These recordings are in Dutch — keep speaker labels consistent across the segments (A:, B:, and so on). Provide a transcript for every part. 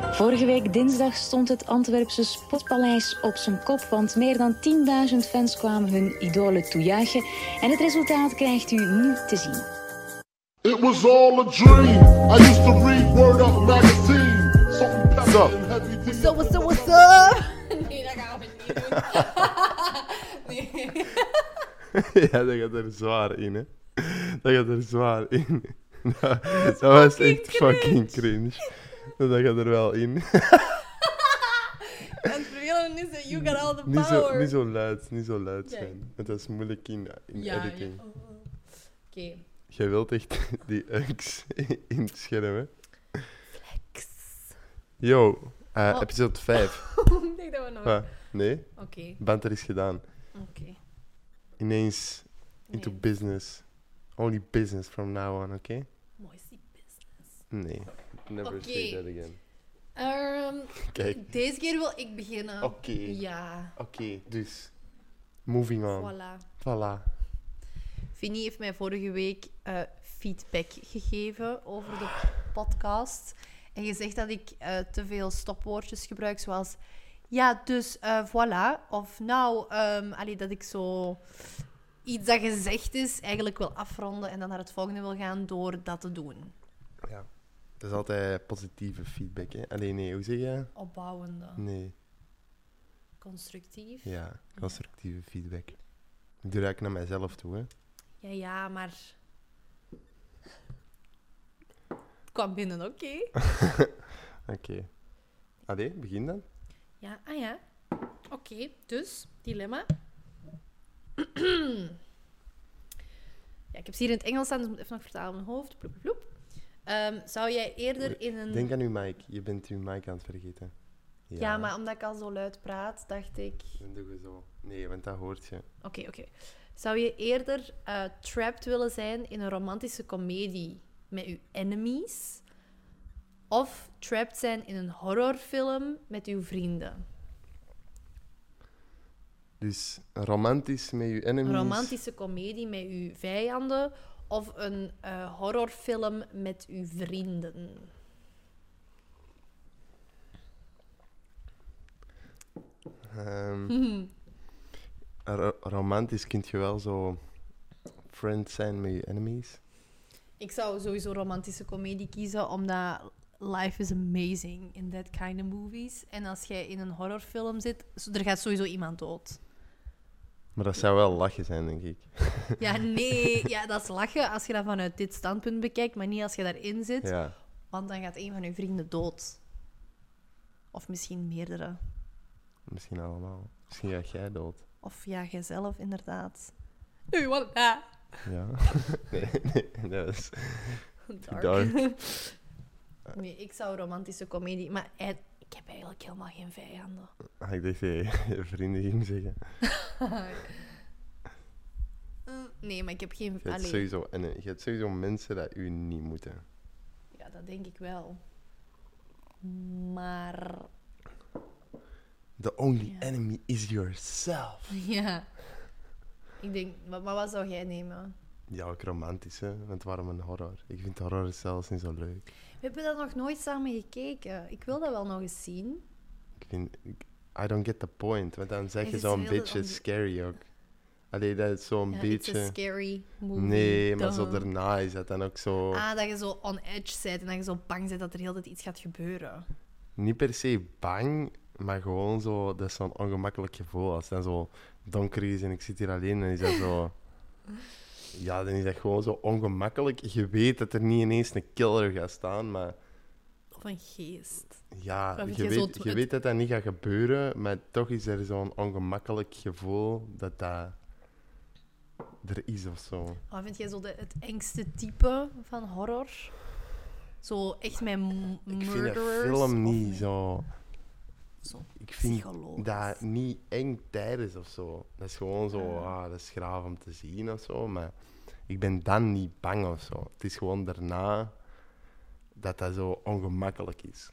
A: Vorige week dinsdag stond het Antwerpse Sportpaleis op zijn kop... want meer dan 10.000 fans kwamen hun idolen toejuichen... en het resultaat krijgt u nu te zien.
B: It was all a dream. I used to read Word Up magazine. Something packed
C: Zo.
B: in heavy D.
C: Zo, what's up, what's up?
D: Nee, dat gaan we niet doen. nee.
C: ja, dat gaat er zwaar in, hè. Dat gaat er zwaar in. Dat, dat was echt fucking cringe. Nou, Dat gaat er wel in.
D: En het vervelende is dat you got all the
C: Niet zo,
D: power.
C: niet zo luid, niet zo luid
D: Nee.
C: zijn. Want dat is moeilijk in, eh, in
D: ja, ja.
C: editing.
D: Oh, oh. Oké.
C: Jij wilt echt die unks in het scherm, hè?
D: X.
C: Yo, eh,
D: Oh.
C: episode 5.
D: Ik denk dat we nog...
C: Wat? Nee,
D: Oké,
C: band er is gedaan.
D: oké.
C: Ineens into
D: Nee,
C: business. Only business from now on, oké?
D: Mooi business.
C: Nee. Never say
D: Oké.
C: that again.
D: Ehm,
C: Kijk,
D: deze keer wil ik beginnen.
C: oké.
D: Ja,
C: Oké, dus. Moving on.
D: voilà.
C: Voilà.
D: Vinnie heeft mij vorige week eh, feedback gegeven over de podcast. En gezegd dat ik eh, te veel stopwoordjes gebruik, zoals ja, dus eh, voilà. Of nou, ehm, allee, dat ik zo iets dat gezegd is eigenlijk wil afronden en dan naar het volgende wil gaan door dat te doen.
C: Ja. Dat is altijd positieve feedback, hè? Alleen nee, hoe zeg je?
D: Opbouwende,
C: Nee.
D: constructief.
C: Ja, constructieve feedback. Ik doe eigenlijk naar mijzelf toe, hè?
D: Ja, ja, maar. Het kwam binnen, oké.
C: Oké. Allee, begin dan.
D: Ja, ah ja. Oké, dus, dilemma. ja, ik heb ze hier in het Engels staan, dus ik moet even nog vertalen in mijn hoofd. Bloep, bloep, bloep. Ehm, zou jij eerder in een...
C: Denk aan uw mic. Je bent uw mic aan het vergeten.
D: ja. maar omdat ik al zo luid praat, dacht ik...
C: Dan doen we zo. Nee, want dat hoort je.
D: Oké, oké. Zou je eerder eh, trapped willen zijn in een romantische komedie met uw enemies? Of trapped zijn in een horrorfilm met uw vrienden?
C: Dus romantisch met je enemies.
D: Een romantische komedie met uw vijanden of een eh, horrorfilm met uw vrienden?
C: Ehm, ro- romantisch kun je wel zo friends zijn met je enemies.
D: Ik zou sowieso romantische komedie kiezen, omdat life is amazing in that kind of movies. En als jij in een horrorfilm zit, zo- er gaat sowieso iemand dood.
C: Maar dat zou wel lachen zijn, denk ik.
D: Ja, nee, ja, dat is lachen als je dat vanuit dit standpunt bekijkt, maar niet als je daarin zit,
C: Ja.
D: want dan gaat een van je vrienden dood. Of misschien meerdere.
C: Misschien allemaal. Misschien ga jij dood.
D: Of ja, jijzelf inderdaad. Nu, wat? Ah,
C: Ja. nee, nee, dat is
D: dark.
C: dark. Eh.
D: Nee, ik zou romantische komedie. Maar ei- ik heb eigenlijk helemaal geen vijanden.
C: Ah, ik dacht dat je je vrienden ging zeggen.
D: Eh, nee, maar ik heb geen.
C: Je hebt,
D: Allee,
C: sowieso, en, eh, je hebt sowieso mensen dat u niet moeten.
D: ja, dat denk ik wel. Maar.
C: The only
D: Ja.
C: enemy is yourself.
D: Ja. Ik denk. Maar, maar wat zou jij nemen?
C: Ja, ook romantisch, hè? Want waarom een horror? Ik vind horror zelfs niet zo leuk.
D: We hebben dat nog nooit samen gekeken. Ik wil dat wel nog eens zien.
C: Ik vind... ik- I don't get the point. Want dan zeg
D: Het
C: je
D: is
C: zo'n
D: heel de-
C: beetje
D: om-
C: scary ook. Allee, dat is zo'n
D: Ja, It's a
C: beetje...
D: scary movie.
C: Nee, maar zo
D: Duh.
C: daarna is dat dan ook zo...
D: Ah, dat je zo on edge bent en dat je zo bang bent dat er heel de tijd iets gaat gebeuren.
C: Niet per se bang, maar gewoon zo... Dat is zo'n ongemakkelijk gevoel. Als het dan zo donker is en ik zit hier alleen, dan is dat zo... Ja, dan is dat gewoon zo ongemakkelijk. Je weet dat er niet ineens een killer gaat staan, maar...
D: Of een geest.
C: Ja,
D: Of
C: je
D: jij zo
C: weet,
D: het-
C: je
D: het-
C: weet dat dat niet gaat gebeuren, maar toch is er zo'n ongemakkelijk gevoel dat dat er is of zo.
D: Oh, vind jij zo de, het engste type van horror? Zo echt mijn m-
C: Ik vind dat
D: murderers of
C: film niet
D: met
C: zo.
D: zo'n
C: Ik vind
D: psycholoog.
C: dat niet eng tijdens of zo. Dat is gewoon zo,
D: Ah.
C: ah, dat is graaf om te zien of zo, maar ik ben dan niet bang of zo. Het is gewoon daarna dat dat zo ongemakkelijk is.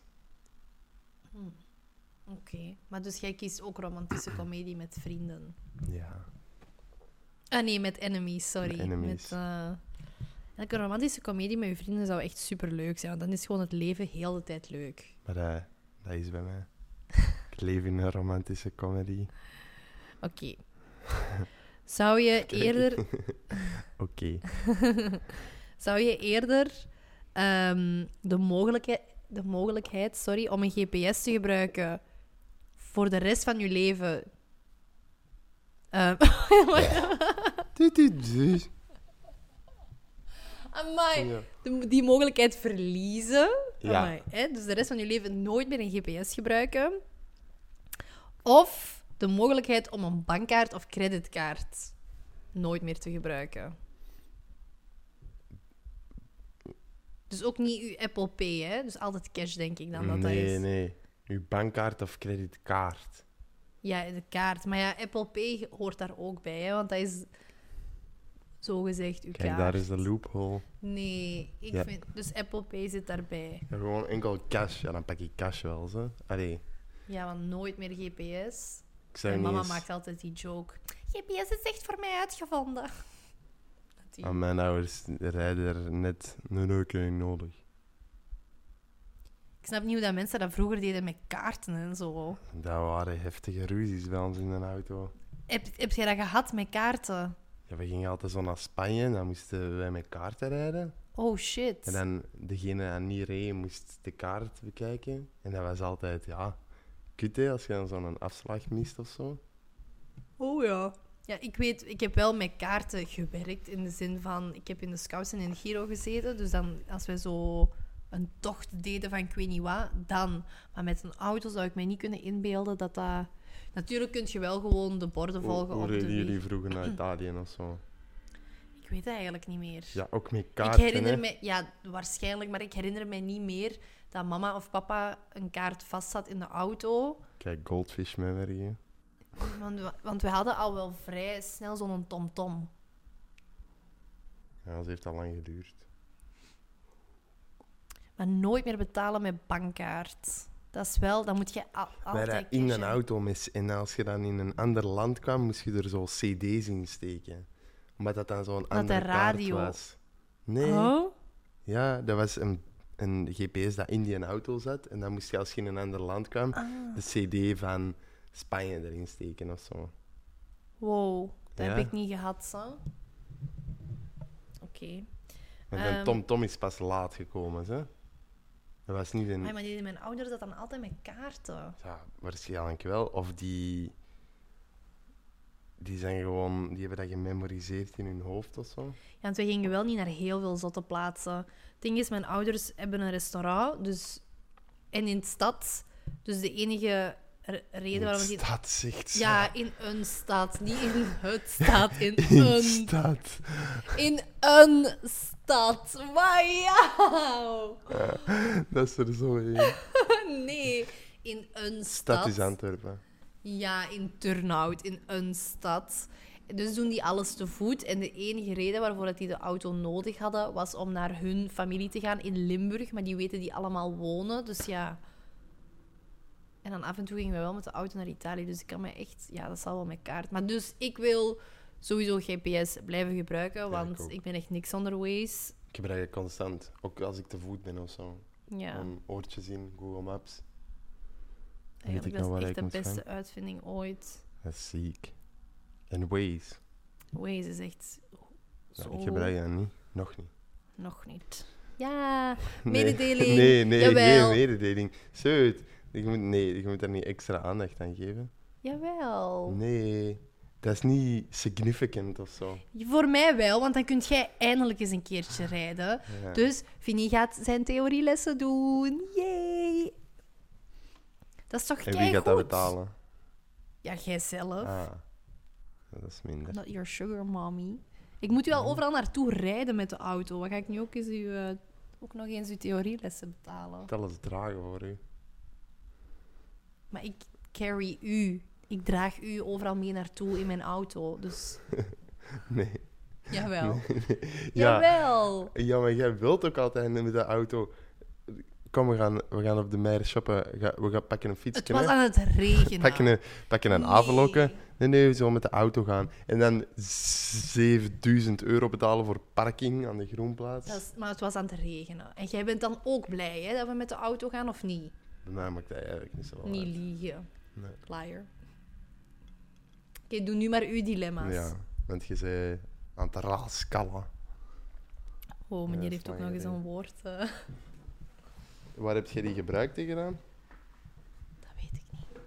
D: Oké, maar dus jij kiest ook romantische comedie met vrienden.
C: Ja.
D: Ah nee, met enemies, sorry.
C: Met enemies.
D: Met, eh, elke romantische comedie met je vrienden zou echt super leuk zijn, want dan is gewoon het leven heel de tijd leuk.
C: Maar dat, Dat is bij mij. Ik leef in een romantische comedy.
D: Oké. Zou je eerder,
C: Oké.
D: zou je eerder ehm, de, mogelijkheid, de mogelijkheid sorry, om een GPS te gebruiken voor de rest van je leven? Ehm
C: Doet, doet, doet.
D: Amai,
C: Ja.
D: de- die mogelijkheid verliezen.
C: Ja.
D: Amai, hè? Dus de rest van je leven nooit meer een GPS gebruiken. Of de mogelijkheid om een bankkaart of creditkaart nooit meer te gebruiken. Dus ook niet uw Apple Pay, hè? Dus altijd cash, denk ik dan dat dat
C: Nee,
D: is.
C: nee. Uw bankkaart of creditkaart.
D: Ja, de kaart. Maar ja, Apple Pay hoort daar ook bij, hè? Want dat is zogezegd uw
C: Kijk,
D: kaart.
C: daar is de loophole.
D: Nee, ik
C: Ja.
D: vind... Dus Apple Pay zit daarbij.
C: Ja, gewoon enkel cash. Ja, dan pak ik cash wel, zo. Allee,
D: Ja, want nooit meer GPS.
C: ik zou
D: Mijn
C: niet
D: mama
C: eens...
D: maakt altijd die joke. GPS is echt voor mij uitgevonden. Die-
C: Aan Ah, mijn ouders rijden er net een auto nodig.
D: Ik snap niet hoe dat mensen dat vroeger deden met kaarten en zo.
C: Dat waren heftige ruzies bij ons in de auto.
D: Heb, heb jij dat gehad met kaarten?
C: Ja, we gingen altijd zo naar Spanje en dan moesten wij met kaarten rijden.
D: Oh shit.
C: En dan degene die niet reed, moest de kaart bekijken. En dat was altijd, ja, kut hè, als je dan zo'n afslag mist of zo.
D: Oh ja. Ja, ik weet, ik heb wel met kaarten gewerkt in de zin van, ik heb in de Scouts en in de Giro gezeten. Dus dan, als wij zo een tocht deden van ik weet niet wat, dan. Maar met een auto zou ik mij niet kunnen inbeelden dat dat... Natuurlijk kun je wel gewoon de borden
C: Hoe,
D: volgen
C: hoe
D: op de
C: reden
D: weg.
C: jullie vroeger naar Italië of zo?
D: Ik weet dat eigenlijk niet meer.
C: Ja, ook met
D: ik
C: kaarten.
D: herinner
C: hè.
D: me, ja, waarschijnlijk, maar ik herinner me niet meer dat mama of papa een kaart vastzat in de auto.
C: Kijk, Goldfish meewerken.
D: Want we, want we hadden al wel vrij snel zo'n tomtom.
C: Ja, dat heeft al lang geduurd.
D: Maar nooit meer betalen met bankkaart. Dat is wel, dan moet je al,
C: Wij
D: altijd.
C: rijden in
D: cash
C: een
D: hebben.
C: auto mis. En als je dan in een ander land kwam, moest je er zo cd's in steken. Omdat dat dan zo'n
D: dat
C: andere
D: radio-
C: kaart was. Nee.
D: Oh?
C: Ja, dat was een, een gps dat in die auto zat. En dan moest je, als je in een ander land kwam,
D: Ah.
C: de cd van Spanje erin steken of zo.
D: Wow, dat
C: Ja.
D: heb ik niet gehad, zo. Oké.
C: Want
D: Ehm.
C: een Tom Tom is pas laat gekomen, hè? Dat was niet een...
D: Ai, Maar die, mijn ouders dat dan altijd met kaarten.
C: Ja, waarschijnlijk wel. Of die... Die zijn gewoon... Die hebben dat gememoriseerd in hun hoofd of zo.
D: Ja, want wij gingen wel niet naar heel veel zotte plaatsen. Het ding is, mijn ouders hebben een restaurant, dus... En in de stad. Dus de enige re- reden waarom... we die-
C: Dat zegt ze.
D: Ja, in een stad. Niet in het stad. In,
C: In
D: een...
C: stad.
D: In een stad. Wauw!
C: Dat is er zo een.
D: Nee. In een stad.
C: Stad is Antwerpen.
D: Ja, in Turnhout, in een stad. Dus doen die alles te voet. En de enige reden waarvoor dat die de auto nodig hadden, was om naar hun familie te gaan in Limburg. Maar die weten die allemaal wonen, dus ja. En dan af en toe gingen we wel met de auto naar Italië. Dus ik kan me echt... Ja, dat zal wel met kaart. Maar dus, ik wil sowieso GPS blijven gebruiken, want
C: ik ook.
D: ik, ben echt niks onderwees.
C: Ik gebruik het constant. Ook als ik te voet ben of zo.
D: Ja,
C: Gewoon oortjes in, Google Maps.
D: eigenlijk
C: nou
D: dat
C: waar ik
D: is echt de
C: moet gaan?
D: beste uitvinding ooit.
C: Dat is ziek. En Waze.
D: Waze is echt
C: Ja,
D: zo...
C: ik gebruik dat niet. Nog niet.
D: Nog niet. Ja,
C: Nee.
D: Mededeling.
C: Nee, nee,
D: Jawel.
C: geen mededeling. Zeut. Je moet, nee, je moet daar niet extra aandacht aan geven.
D: jawel.
C: Nee. Dat is niet significant of zo.
D: Voor mij wel, want dan kun jij eindelijk eens een keertje rijden.
C: Ja.
D: Dus Vinnie gaat zijn theorielessen doen. Yay! Dat is toch
C: en wie gaat dat
D: keigoed?
C: betalen?
D: Ja, jij zelf.
C: Ah. Dat is minder.
D: Not your sugar mommy. Ik moet u
C: Hm.
D: al overal naartoe rijden met de auto. Wat ga ik nu ook, eens uw, eh, ook nog eens uw theorielessen betalen?
C: Ik moet alles dragen voor u.
D: Maar ik carry u. Ik draag u overal mee naartoe in mijn auto. Dus
C: Nee.
D: jawel.
C: Ja.
D: Jawel.
C: Ja, maar jij wilt ook altijd met de auto. Kom, we gaan, we gaan op de Meijer shoppen. Ga- we gaan pakken een fiets.
D: Het was aan het regenen.
C: Pakken een, pakken een
D: Nee.
C: avondlokken. Nee, nee, we zullen met de auto gaan. En dan 7000 euro betalen voor parking aan de groenplaats.
D: Dat is- maar het was aan het regenen. En jij bent dan ook blij hè, dat we met de auto gaan, of niet?
C: Bij mij maakt dat eigenlijk niet zo
D: Niet liegen.
C: Oh, Nee.
D: Liar. Oké, doe nu maar uw dilemma's.
C: Ja, want je zei aan het raaskallen.
D: Oh,
C: Ja,
D: meneer
C: dat
D: heeft
C: is
D: ook nog eens
C: lang
D: een woord. eh.
C: Waar heb je die gebruikt tegen gedaan?
D: Dat weet ik niet.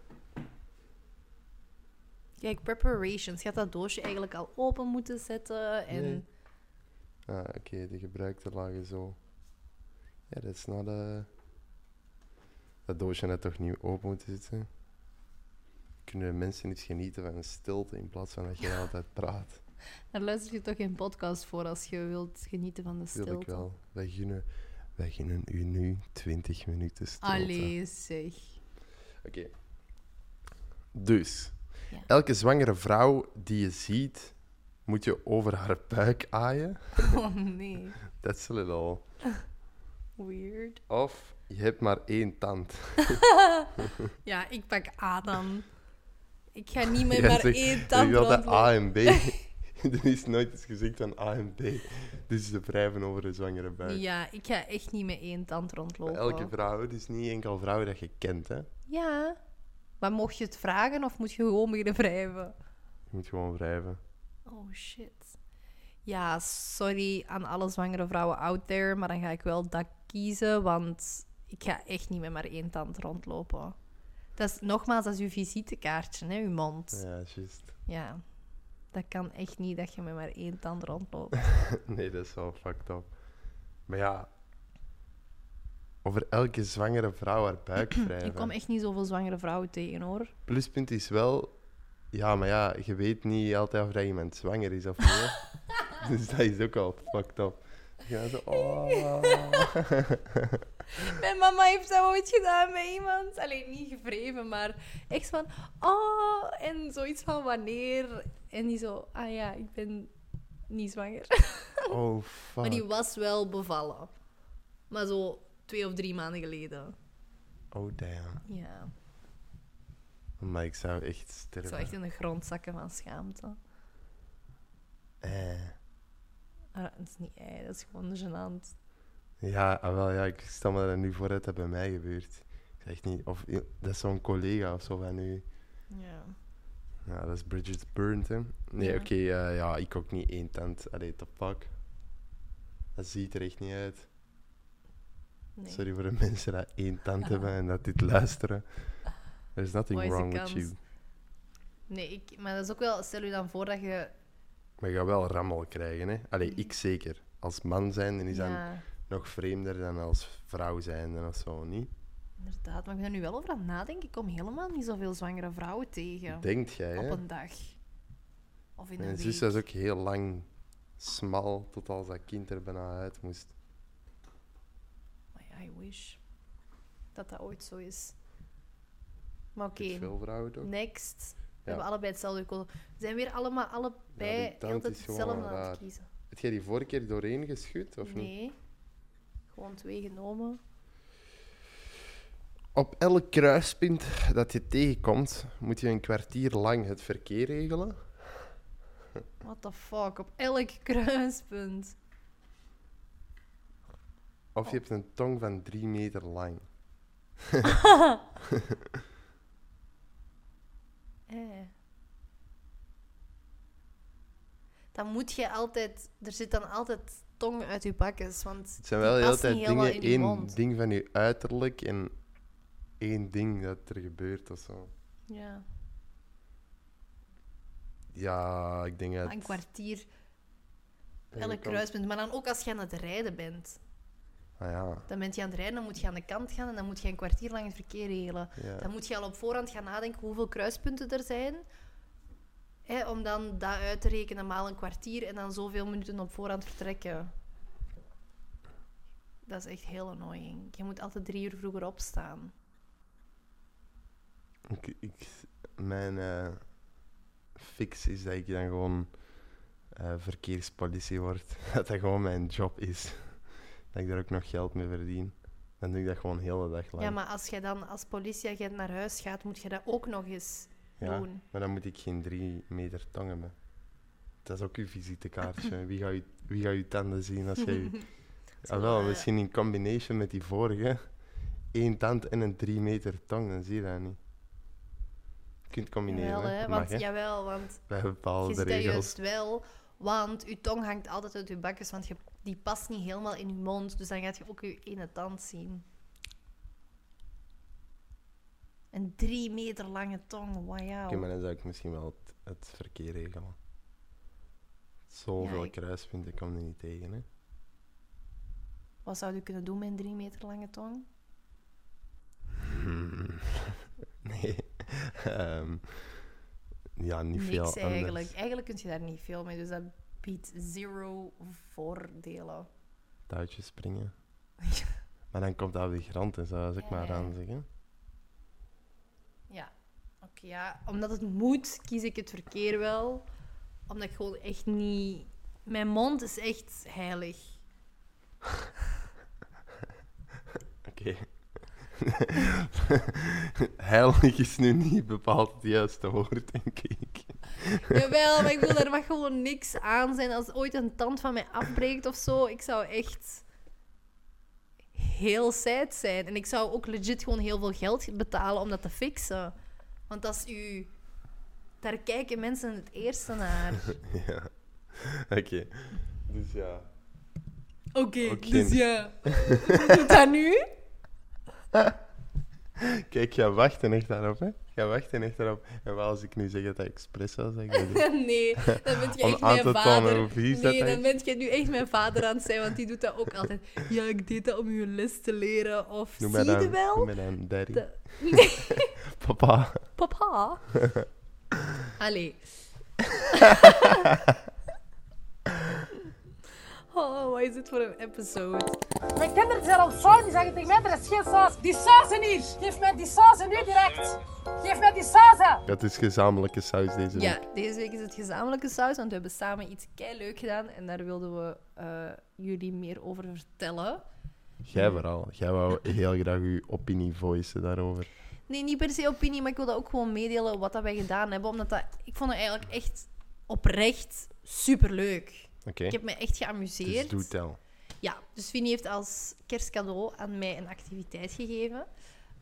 D: Kijk, preparations. Je had dat doosje eigenlijk al open moeten zetten. En
C: Nee. Ah, oké, die gebruikte lagen zo. Ja, dat is nou de... Dat doosje net toch niet open moeten zitten? Kunnen de mensen niet genieten van een stilte in plaats van dat je altijd praat?
D: daar luister je toch geen podcast voor als je wilt genieten van de
C: Dat
D: stilte.
C: wil ik wel. Wij gunnen, wij gunnen u nu 20 minuten stilte.
D: Allee, zeg.
C: Oké. Dus,
D: Ja.
C: elke zwangere vrouw die je ziet, moet je over haar buik aaien.
D: Oh nee,
C: That's a little...
D: weird.
C: Of je hebt maar één tand.
D: Ja, ik pak A dan. Ik ga niet met
C: Jij
D: maar
C: zegt,
D: één
C: Je
D: tand
C: wilde A
D: branden.
C: en B. er is nooit eens gezegd van A en B. Dus ze wrijven over de zwangere buik.
D: Ja, ik ga echt niet met één tand rondlopen.
C: Elke vrouw, dus niet enkel vrouwen dat je kent. Hè.
D: Ja. Maar mocht je het vragen of moet je gewoon beginnen wrijven?
C: Je moet gewoon wrijven.
D: Oh shit. Ja, sorry aan alle zwangere vrouwen out there, maar dan ga ik wel dat kiezen, want ik ga echt niet met maar één tand rondlopen. Dat is nogmaals, dat is uw visitekaartje, hè, uw mond. Ja.
C: Ja, juist.
D: Dat kan echt niet dat je met maar één tand rondloopt.
C: Nee, dat is wel fucked up. Maar ja, over elke zwangere vrouw haar buik wrijven.
D: Ik kom echt niet zoveel zwangere vrouwen tegen hoor.
C: Pluspunt is wel, ja, maar ja, je weet niet altijd of dat iemand zwanger is of niet. hè. dus dat is ook al fucked up. Ja, zo, oh.
D: Mijn mama heeft dat ooit gedaan bij iemand. Alleen niet gevreven, maar echt van. Oh, en zoiets van wanneer. En die zo. Ah ja, ik ben niet zwanger.
C: Oh, fuck.
D: Maar die was wel bevallen. Maar zo twee of drie maanden geleden.
C: Oh, damn.
D: Ja.
C: Maar ik zou echt
D: Ik
C: sterven.
D: zou echt in de grond zakken van schaamte.
C: Eh.
D: Maar Ah, dat is niet ei, dat is gewoon gênant.
C: Ja, ah, wel, ja, ik stel me dat nu voor dat dat bij mij gebeurt. Ik zeg niet, of i- dat is zo'n collega of zo van u.
D: Ja.
C: Ja, dat is Bridget Burnt, hè. Nee,
D: Ja.
C: oké, eh, ja, ik ook niet één tent. Allee, te pak. Dat ziet er echt niet uit.
D: Nee.
C: Sorry voor de mensen dat één tent hebben en dat dit luisteren. There's nothing
D: Wat is de
C: wrong with
D: kans?
C: you.
D: Nee, ik, maar dat is ook wel. Stel je dan voor dat je.
C: Maar je gaat wel rammel krijgen, hè. Allee, ik zeker. Als man zijn, dan is dat
D: Mm. ja,
C: nog vreemder dan als vrouw zijn of zo, niet?
D: inderdaad. Maar ik ben er nu wel over aan het nadenken. Ik kom helemaal niet zoveel zwangere vrouwen tegen.
C: Denkt jij,
D: op
C: hè?
D: een dag. Of in een
C: Mijn
D: week.
C: zus was ook heel lang smal, tot als dat kind er bijna uit moest.
D: Maar ja, I wish. Dat dat ooit zo is. Maar
C: Ik
D: oké,
C: heb veel vrouwen toch?
D: next. We
C: Ja.
D: hebben allebei hetzelfde gekozen. We zijn weer allemaal allebei
C: Ja, die tand
D: altijd
C: is gewoon
D: hetzelfde aan
C: raar.
D: het kiezen.
C: Heb jij die vorige keer doorheen geschud, of niet?
D: nee. Gewoon twee genomen.
C: Op elk kruispunt dat je tegenkomt, moet je een kwartier lang het verkeer regelen.
D: What the fuck, op elk kruispunt.
C: Of je hebt een tong van drie meter lang.
D: Eh. Dan moet je altijd... Er zit dan altijd tong uit je bakjes, want
C: Het zijn
D: die
C: wel de hele
D: past
C: tijd
D: niet helemaal
C: dingen,
D: in je
C: één
D: mond.
C: ding van je uiterlijk en één ding dat er gebeurt of zo.
D: Ja.
C: Ja, ik denk dat...
D: Maar Een kwartier
C: dat je
D: elk
C: kan-
D: kruispunt. Maar dan ook als je aan het rijden bent.
C: Ah ja,
D: Dan ben je aan het rijden, dan moet je aan de kant gaan en dan moet je een kwartier lang het verkeer regelen.
C: ja.
D: Dan moet je al op voorhand gaan nadenken hoeveel kruispunten er zijn. Hè, om dan dat uit te rekenen, maal een kwartier en dan zoveel minuten op voorhand vertrekken. Dat is echt heel annoying. Je moet altijd drie uur vroeger opstaan.
C: Ik, ik- mijn eh, fix is dat ik dan gewoon eh, verkeerspolitie word. Dat dat gewoon mijn job is. Dat ik daar ook nog geld mee verdien. Dan doe ik dat gewoon de hele dag lang.
D: Ja, maar als je dan als politieagent naar huis gaat, moet je dat ook nog eens
C: Ja,
D: doen.
C: maar dan moet ik geen drie meter tong hebben. Dat is ook uw visitekaartje. Wie gaat, je, wie gaat je tanden zien als jij... je- Ah, wel,
D: eh,
C: misschien in combination met die vorige. één tand en een drie meter tong, dan zie je dat niet. Je kunt het combineren,
D: Jawel,
C: hè.
D: hè,
C: Dat
D: want,
C: mag, hè.
D: jawel, want
C: Bij
D: je
C: bepaalde
D: ziet dat
C: regels.
D: juist wel. Want je tong hangt altijd uit je bakjes, want je, die past niet helemaal in je mond. Dus dan gaat je ook je ene tand zien. Een drie meter lange tong, wauw.
C: Oké, maar dan zou ik misschien wel het, het verkeer regelen. Zoveel
D: ik-
C: kruispunten kom je niet tegen, hè.
D: Wat zou je kunnen doen met een drie meter lange tong?
C: Nee. Ehm, ja, niet veel
D: Niks eigenlijk.
C: Anders.
D: Eigenlijk kun je daar niet veel mee, dus dat biedt zero voordelen.
C: Touwtjes springen. Maar dan komt dat op de grond en zo, als ik
D: Ja,
C: maar
D: ja.
C: aan zeg. hè.
D: Ja, oké. ja. Omdat het moet, kies ik het verkeer wel. Omdat ik gewoon echt niet... Mijn mond is echt heilig.
C: Oké. Heilig is nu niet bepaald het juiste woord, denk ik.
D: Jawel, maar ik bedoel, er mag gewoon niks aan zijn. Als ooit een tand van mij afbreekt of zo, ik zou echt heel sad zijn. En ik zou ook legit gewoon heel veel geld betalen om dat te fixen. Want dat is u... Daar kijken mensen het eerste naar.
C: ja. Oké. Dus ja.
D: Oké,
C: Oké. dus
D: ja. Doe dat nu?
C: Kijk, ga wachten echt daarop, hè. Ga wachten echt daarop. En wat als ik nu zeg dat dat expres zou zijn? Ik bedoel,
D: Nee, dan bent je
C: Om
D: echt
C: aan
D: mijn
C: te tonen
D: vader.
C: hoe vies dat
D: nee,
C: hij
D: dan
C: is.
D: bent je nu echt mijn vader aan het zijn, want die doet dat ook altijd. Ja, ik deed dat om je les te leren. Of
C: Noem mij
D: zie je
C: dan, noem
D: wel?
C: mij dan daddy.
D: De-
C: Papa.
D: Papa. Allee. oh, wat is dit voor een episode?
E: Mijn kinderen zijn al zo, die zeggen tegen mij, er is geen saus. Die saus in hier. Geef mij die saus nu direct. Geef mij die saus. hè.
C: Dat is gezamenlijke saus deze week.
D: Ja, deze week is het gezamenlijke saus, want we hebben samen iets kei leuk gedaan en daar wilden we eh, jullie meer over vertellen.
C: Jij vooral. Jij wou heel graag uw opinie voicen daarover.
D: Nee, niet per se opinie, maar ik wil dat ook gewoon meedelen wat dat wij gedaan hebben. Omdat dat, ik vond het eigenlijk echt oprecht superleuk.
C: Oké.
D: Ik heb me echt
C: Dus
D: geamuseerd.
C: doe tel.
D: Ja, dus Winnie heeft als kerstcadeau aan mij een activiteit gegeven.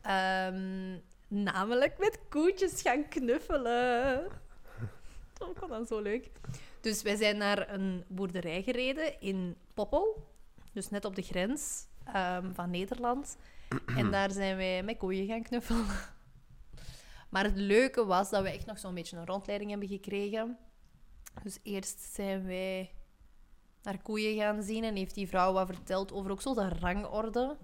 D: Ehm, namelijk met koetjes gaan knuffelen. Dat vond dat zo leuk. Dus wij zijn naar een boerderij gereden in Poppel. Dus net op de grens ehm, van Nederland. En daar zijn wij met koeien gaan knuffelen. Maar het leuke was dat we echt nog zo'n beetje een rondleiding hebben gekregen. Dus eerst zijn wij naar koeien gaan zien. En heeft die vrouw wat verteld over ook zo de rangorde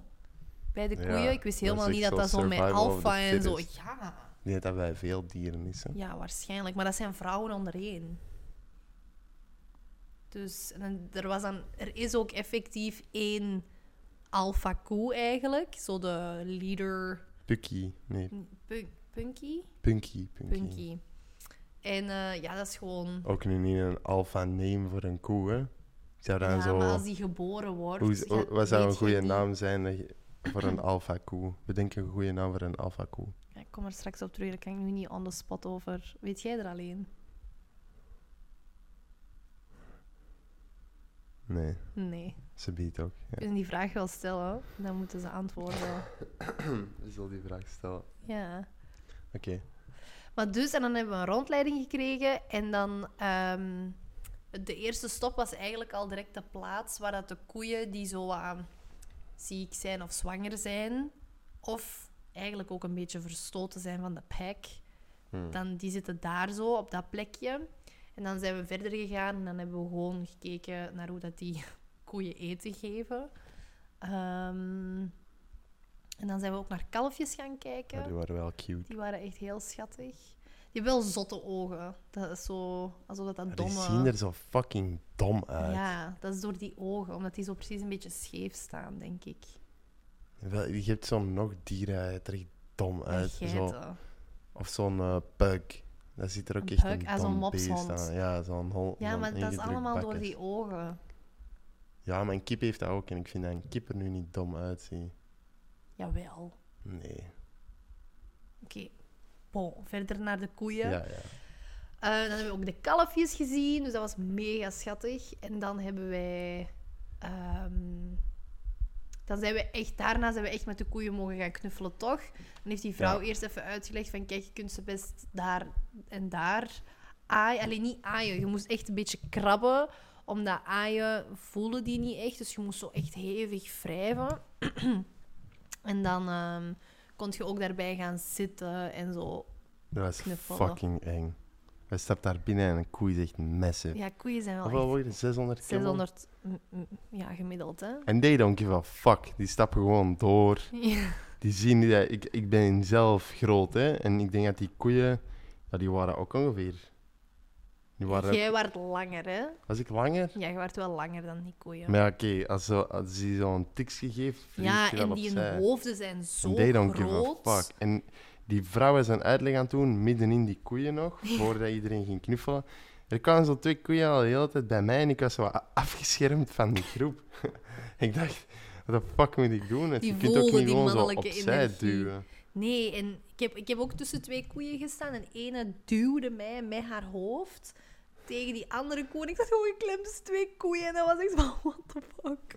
D: bij de
C: Ja,
D: koeien. ik wist
C: dat is
D: helemaal
C: echt
D: niet dat
C: zo
D: dat zo met
C: survival of the
D: alfa en zo...
C: fittest.
D: Ja,
C: Ik denk dat bij veel dieren is. Hè?
D: ja, waarschijnlijk. Maar dat zijn vrouwen onderheen. Dus en dan- er, was dan, er is ook effectief één alpha koe eigenlijk. Zo de leader...
C: Pukkie. Nee,
D: Pun- Punky?
C: punkie, punkie.
D: Punky. En eh, ja, dat is gewoon...
C: Ook nu niet een alfa name voor een koe, hè? Ik zou dan
D: ja,
C: zo...
D: maar als die geboren wordt...
C: Hoe,
D: ga-
C: hoe- wat zou
D: weet
C: een
D: je
C: goede
D: die-
C: naam zijn dat je- voor een alfa koe? Bedenk een goede naam voor een alfa koe.
D: Ja, ik kom er straks op terug, daar kan ik nu niet on the spot over. Weet jij er alleen?
C: Nee,
D: Nee.
C: ze biedt ook.
D: Als je die vraag wil stellen, dan moeten ze antwoorden.
C: Je zal die vraag stellen. Oké.
D: Ja. Maar dus, en dan hebben we een rondleiding gekregen. En dan... ehm, de eerste stop was eigenlijk al direct de plaats waar dat de koeien die zo aan ziek zijn of zwanger zijn... Of eigenlijk ook een beetje verstoten zijn van de pack. Dan, die zitten daar zo, op dat plekje. En dan zijn we verder gegaan en dan hebben we gewoon gekeken naar hoe dat die koeien eten geven. Ehm, en dan zijn we ook naar kalfjes gaan kijken.
C: Maar die waren wel cute.
D: Die waren echt heel schattig. Die hebben wel zotte ogen. Dat is zo, alsof dat, dat
C: Maar
D: domme...
C: Die zien er zo fucking dom uit.
D: Ja, dat is door die ogen, omdat die zo precies een beetje scheef staan, denk ik.
C: Wel, je hebt zo'n nog dieren uit, er echt dom uit.
D: Een
C: Zo,
D: geiten.
C: of zo'n eh, pug. Dat ziet er ook
D: Een
C: echt
D: pug?
C: een
D: Ah, zo'n
C: dom beest
D: mopshond.
C: aan. Ja, zo'n hol.
D: Ja,
C: zo'n
D: maar dat is
C: ingedrukt
D: allemaal door
C: bakkes.
D: die ogen.
C: Ja, maar een kip heeft dat ook en ik vind dat een kip er nu niet dom uitziet.
D: Jawel.
C: Nee.
D: Oké. Bon, verder naar de koeien.
C: ja. ja.
D: Eh, dan hebben we ook de kalfjes gezien, dus dat was mega schattig. En dan hebben wij ehm, Dan zijn we echt, daarna zijn we echt met de koeien mogen gaan knuffelen, toch? Dan heeft die vrouw eerst even uitgelegd van, kijk, je kunt ze best daar en daar aaien. Alleen niet aaien, je moest echt een beetje krabben. Omdat aaien voelen die niet echt, dus je moest zo echt hevig wrijven. en dan ehm kon je ook daarbij gaan zitten en zo.
C: Dat was
D: Knuffelen.
C: fucking eng. Hij stapt daar binnen en een koe is echt messen.
D: Ja, koeien zijn wel
C: Hoeveel
D: echt
C: word je? 600 kilo?
D: 600, mm, mm, ja, gemiddeld, hè?
C: En they don't give a fuck. Die stappen gewoon door.
D: Ja.
C: Die zien niet dat ik, ik ben zelf groot hè. En ik denk dat die koeien, ja, die waren ook ongeveer. Die waren,
D: Jij werd langer, hè?
C: Was ik langer?
D: Ja, je werd wel langer dan die koeien.
C: Maar ja, oké, als, zo, als die zo'n tikje geeft, vlieg
D: ja,
C: je wel
D: en die hun
C: opzij.
D: hoofden zijn zo
C: En they don't
D: groot.
C: give a fuck. En die vrouw is een uitleg aan het doen, midden in die koeien nog, voordat iedereen ging knuffelen. Er kwamen zo twee koeien al de hele tijd bij mij en ik was zo a- afgeschermd van die groep. ik dacht, wat de fuck moet ik doen? Want
D: Die
C: je kunt ook
D: voelden
C: niet
D: die
C: gewoon zo
D: mannelijke
C: opzij
D: energie.
C: duwen.
D: Nee, en ik heb, ik heb ook tussen twee koeien gestaan. En ene duwde mij met haar hoofd tegen die andere koe. En ik zat gewoon geklemd tussen twee koeien. En dat was echt van, what the fuck.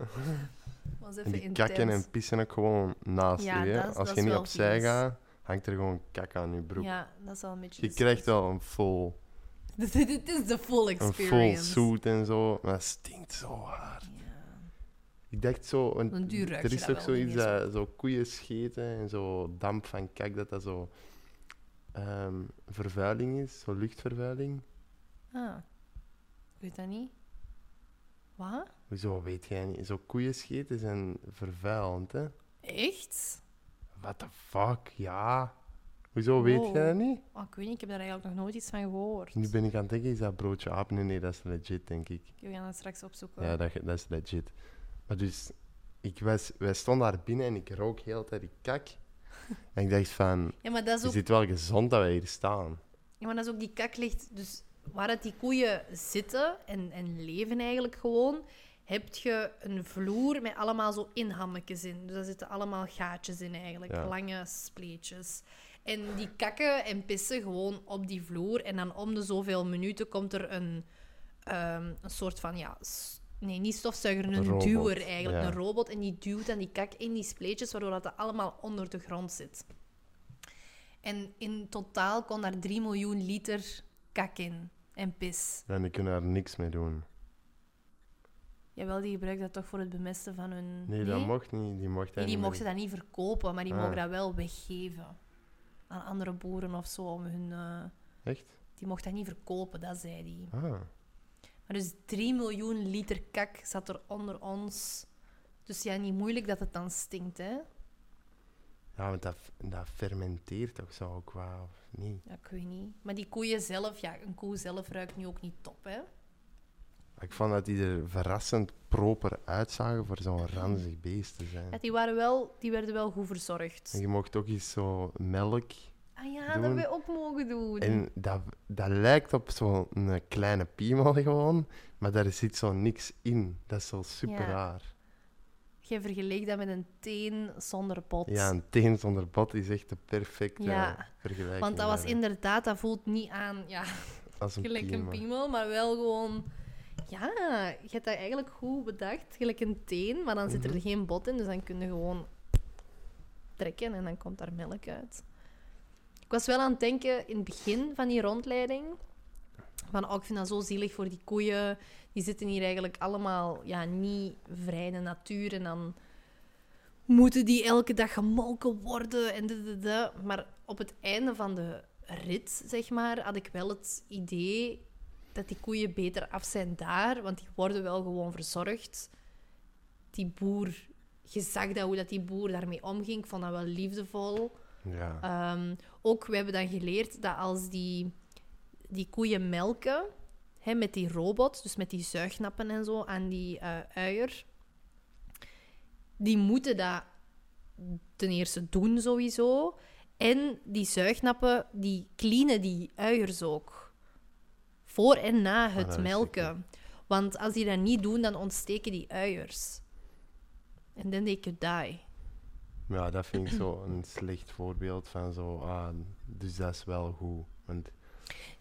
D: was
C: En
D: even
C: die
D: intens.
C: kakken en pissen ook gewoon naast
D: Ja,
C: je. hè.
D: dat is-
C: Als
D: dat
C: je
D: is
C: niet
D: wel
C: opzij
D: vies.
C: gaat, hangt er gewoon kak aan je broek.
D: Ja, dat is wel een beetje...
C: je
D: de-
C: krijgt wel een full,
D: Dit dit is de full
C: een full
D: experience.
C: suit en zo, maar dat stinkt zo hard. Ik dacht zo, want
D: Dan duur ruik
C: er
D: je
C: is
D: dat
C: ook
D: wel
C: zoiets
D: niet eens
C: dat zo koeien scheten en zo damp van kak, dat dat zo ehm, vervuiling is, zo luchtvervuiling.
D: Ah. Ik weet dat niet. Wat?
C: Hoezo weet jij niet? Zo koeien scheten zijn vervuilend, hè?
D: Echt?
C: What the fuck, ja. Hoezo weet
D: Wow.
C: jij dat niet?
D: Oh, ik weet niet, ik heb daar eigenlijk nog nooit iets van gehoord.
C: Nu ben ik aan het denken, is dat broodje aap? Nee, nee, dat is legit, denk ik.
D: We gaan dat straks opzoeken.
C: Ja, dat, dat is legit. Maar dus, ik was, wij stonden daar binnen en ik rook heel de tijd die kak. En ik dacht van,
D: Ja, maar dat is
C: is
D: ook,
C: dit wel gezond dat wij hier staan?
D: ja, maar dat is ook die kak ligt. Dus waar dat die koeien zitten en, en leven eigenlijk gewoon, heb je een vloer met allemaal zo inhammetjes in. Dus daar zitten allemaal gaatjes in eigenlijk,
C: Ja.
D: lange spleetjes. En die kakken en pissen gewoon op die vloer. En dan om de zoveel minuten komt er een, ehm, een soort van, ja, s- nee, niet stofzuiger, een
C: Robot,
D: duwer eigenlijk.
C: ja.
D: Een robot. En die duwt dan die kak in die spleetjes, waardoor dat, dat allemaal onder de grond zit. En in totaal kon daar 3 miljoen liter kak in. En pis.
C: En die kunnen daar niks mee doen.
D: Jawel, die gebruikt dat toch voor het bemesten van hun...
C: Nee, dat mocht niet. Die mocht
D: Nee,
C: dat
D: die
C: niet
D: mochten
C: meer.
D: dat niet verkopen, maar die
C: Ah.
D: mogen dat wel weggeven. Aan andere boeren of zo. Om hun, eh,
C: Echt?
D: Die mochten dat niet verkopen, dat zei die.
C: Ah.
D: Maar dus 3 miljoen liter kak zat er onder ons. Dus ja, niet moeilijk dat het dan stinkt, hè?
C: Ja, want dat, dat fermenteert toch zo ook wel, of niet?
D: Ja, ik weet niet. Maar die koeien zelf, ja, een koe zelf ruikt nu ook niet top, hè?
C: Ik vond dat die er verrassend proper uitzagen voor zo'n ranzig beest te zijn.
D: Ja, die, waren wel, die werden wel goed verzorgd.
C: En je mocht ook eens zo melk
D: Ah ja,
C: Doen.
D: dat we op mogen doen.
C: En dat, dat lijkt op zo'n kleine piemel gewoon, maar daar zit zo niks in. Dat is zo super
D: Ja.
C: raar.
D: Je vergeleek dat met een teen zonder pot.
C: Ja, een teen zonder bot is echt de perfecte
D: Ja,
C: vergelijking.
D: Want dat was
C: daarin.
D: inderdaad, dat voelt niet aan, ja,
C: Als een
D: gelijk een
C: piemel.
D: piemel, maar wel gewoon... Ja, je hebt dat eigenlijk goed bedacht, gelijk een teen, maar dan zit
C: Mhm.
D: er geen bot in, dus dan kun je gewoon trekken en dan komt daar melk uit. Ik was wel aan het denken in het begin van die rondleiding, van oh, ik vind dat zo zielig voor die koeien, die zitten hier eigenlijk allemaal ja, niet vrij in de natuur en dan moeten die elke dag gemolken worden en dit, dit, dit. Maar op het einde van de rit, zeg maar, had ik wel het idee dat die koeien beter af zijn daar, want die worden wel gewoon verzorgd. Die boer, je zag dat, hoe dat die boer daarmee omging, ik vond dat wel liefdevol.
C: Ja.
D: Ehm, ook, we hebben dan geleerd dat als die, die koeien melken, hè, met die robot, dus met die zuignappen en zo aan die eh, uier, die moeten dat ten eerste doen sowieso. En die zuignappen, die cleanen die uiers ook. Voor en na
C: dat
D: het
C: wist ik
D: melken. Want als die dat niet doen, dan ontsteken die uiers. En then they could die.
C: ja, dat vind ik zo een slecht voorbeeld van zo, ah, dus dat is wel goed. Want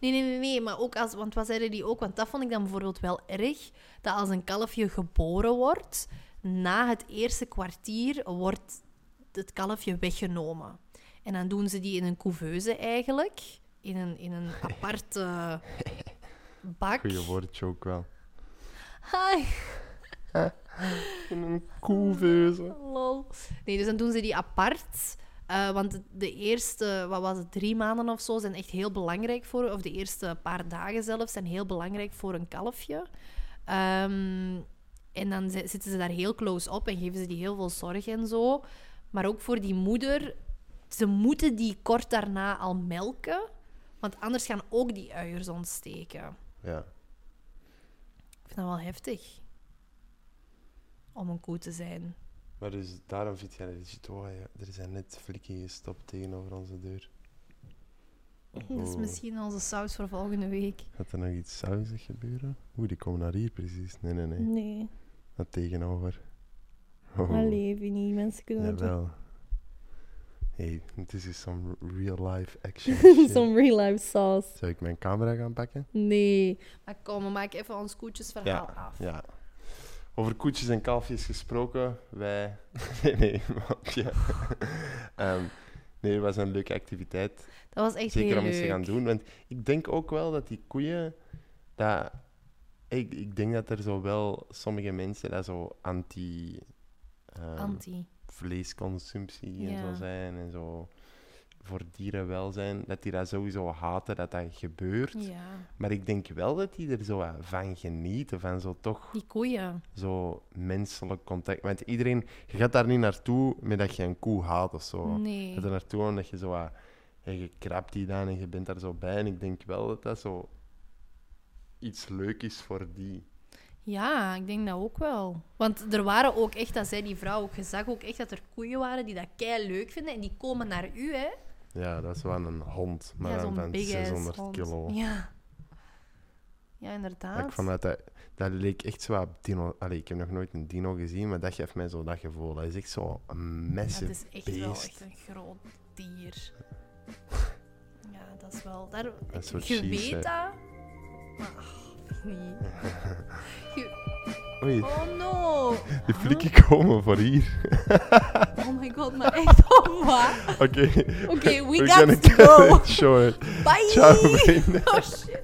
D: Nee, nee, nee, nee, maar ook als, want wat zeiden die ook? Want dat vond ik dan bijvoorbeeld wel erg, dat als een kalfje geboren wordt, na het eerste kwartier wordt het kalfje weggenomen. En dan doen ze die in een couveuse eigenlijk, in een, in een aparte bak.
C: Goeie woordje ook wel.
D: Hi.
C: In een koeveuze.
D: Lol. Nee, dus dan doen ze die apart. eh, want de, de eerste, wat was het, drie maanden of zo, zijn echt heel belangrijk voor... Of de eerste paar dagen zelfs, zijn heel belangrijk voor een kalfje. Ehm, en dan zi- zitten ze daar heel close op en geven ze die heel veel zorg en zo. Maar ook voor die moeder, ze moeten die kort daarna al melken. Want anders gaan ook die uiers ontsteken.
C: Ja.
D: Ik vind dat wel heftig. Om een koe te zijn.
C: Maar dus daarom vind jij dat shit, oh ja, er zijn net flikken gestopt tegenover onze deur.
D: Dat is
C: Oh.
D: misschien onze saus voor volgende week.
C: Gaat er nog iets sausig gebeuren? Oeh, die komen naar hier precies. Nee, nee, nee.
F: Nee,
C: Dat tegenover. Oh,
F: allee, Vinnie, mensen kunnen dat doen.
C: jawel. Hey, dit is some real life action. shit.
F: Zo'n real life sauce.
C: Zou ik mijn camera gaan pakken?
F: Nee.
D: Maar kom, we maken even ons koetjesverhaal af.
C: Ja. Over koetjes en kalfjes gesproken, wij... Nee, nee, mopje. Ehm, nee, het was een leuke activiteit.
D: Dat was echt
C: Zeker
D: heel
C: om eens te
D: leuk.
C: gaan doen. Want ik denk ook wel dat die koeien. Dat, ik, ik denk dat er zo wel sommige mensen dat zo anti. ehm,
D: Anti.
C: vleesconsumptie en
D: Ja.
C: zo zijn en zo voor dierenwelzijn, dat die dat sowieso haten dat dat gebeurt.
D: Ja.
C: Maar ik denk wel dat die er zo wat van genieten, van zo toch
D: Die koeien.
C: zo menselijk contact. Want iedereen, je gaat daar niet naartoe met dat je een koe haat of zo. Je
D: Nee.
C: gaat er naartoe omdat je zo wat, ja, je krabt die dan en je bent daar zo bij. En ik denk wel dat dat zo iets leuk is voor die.
D: Ja, ik denk dat ook wel. Want er waren ook echt, dat zei die vrouw ook, je zag ook echt dat er koeien waren die dat kei leuk vinden. En die komen naar u, hè.
C: Ja, dat is wel een hond, maar
D: ja,
C: dan
D: zo'n
C: van
D: big ass
C: 600
D: hond.
C: kilo.
D: Ja. Ja,
C: Dat
D: inderdaad.
C: ik vanuit dat, dat leek echt zo op dino. Allee, ik heb nog nooit een dino gezien, maar dat geeft mij zo dat gevoel. Dat is echt zo een
D: Ja,
C: massive
D: het is echt wel
C: beest.
D: echt een groot dier. Ja, dat is wel. Daar,
C: Dat is wat
D: je
C: she
D: weet
C: said.
D: dat. Oh, Maar ach, nee. Je-
C: Oei,
D: oh no!
C: die flikken komen voor hier.
D: Oh my god, maar echt, oh wat?
C: Oké,
D: Oké, we
C: we
D: got
C: gaan
D: to go!
C: Sure.
D: Bye!
C: Ciao, vrienden.
D: Oh shit!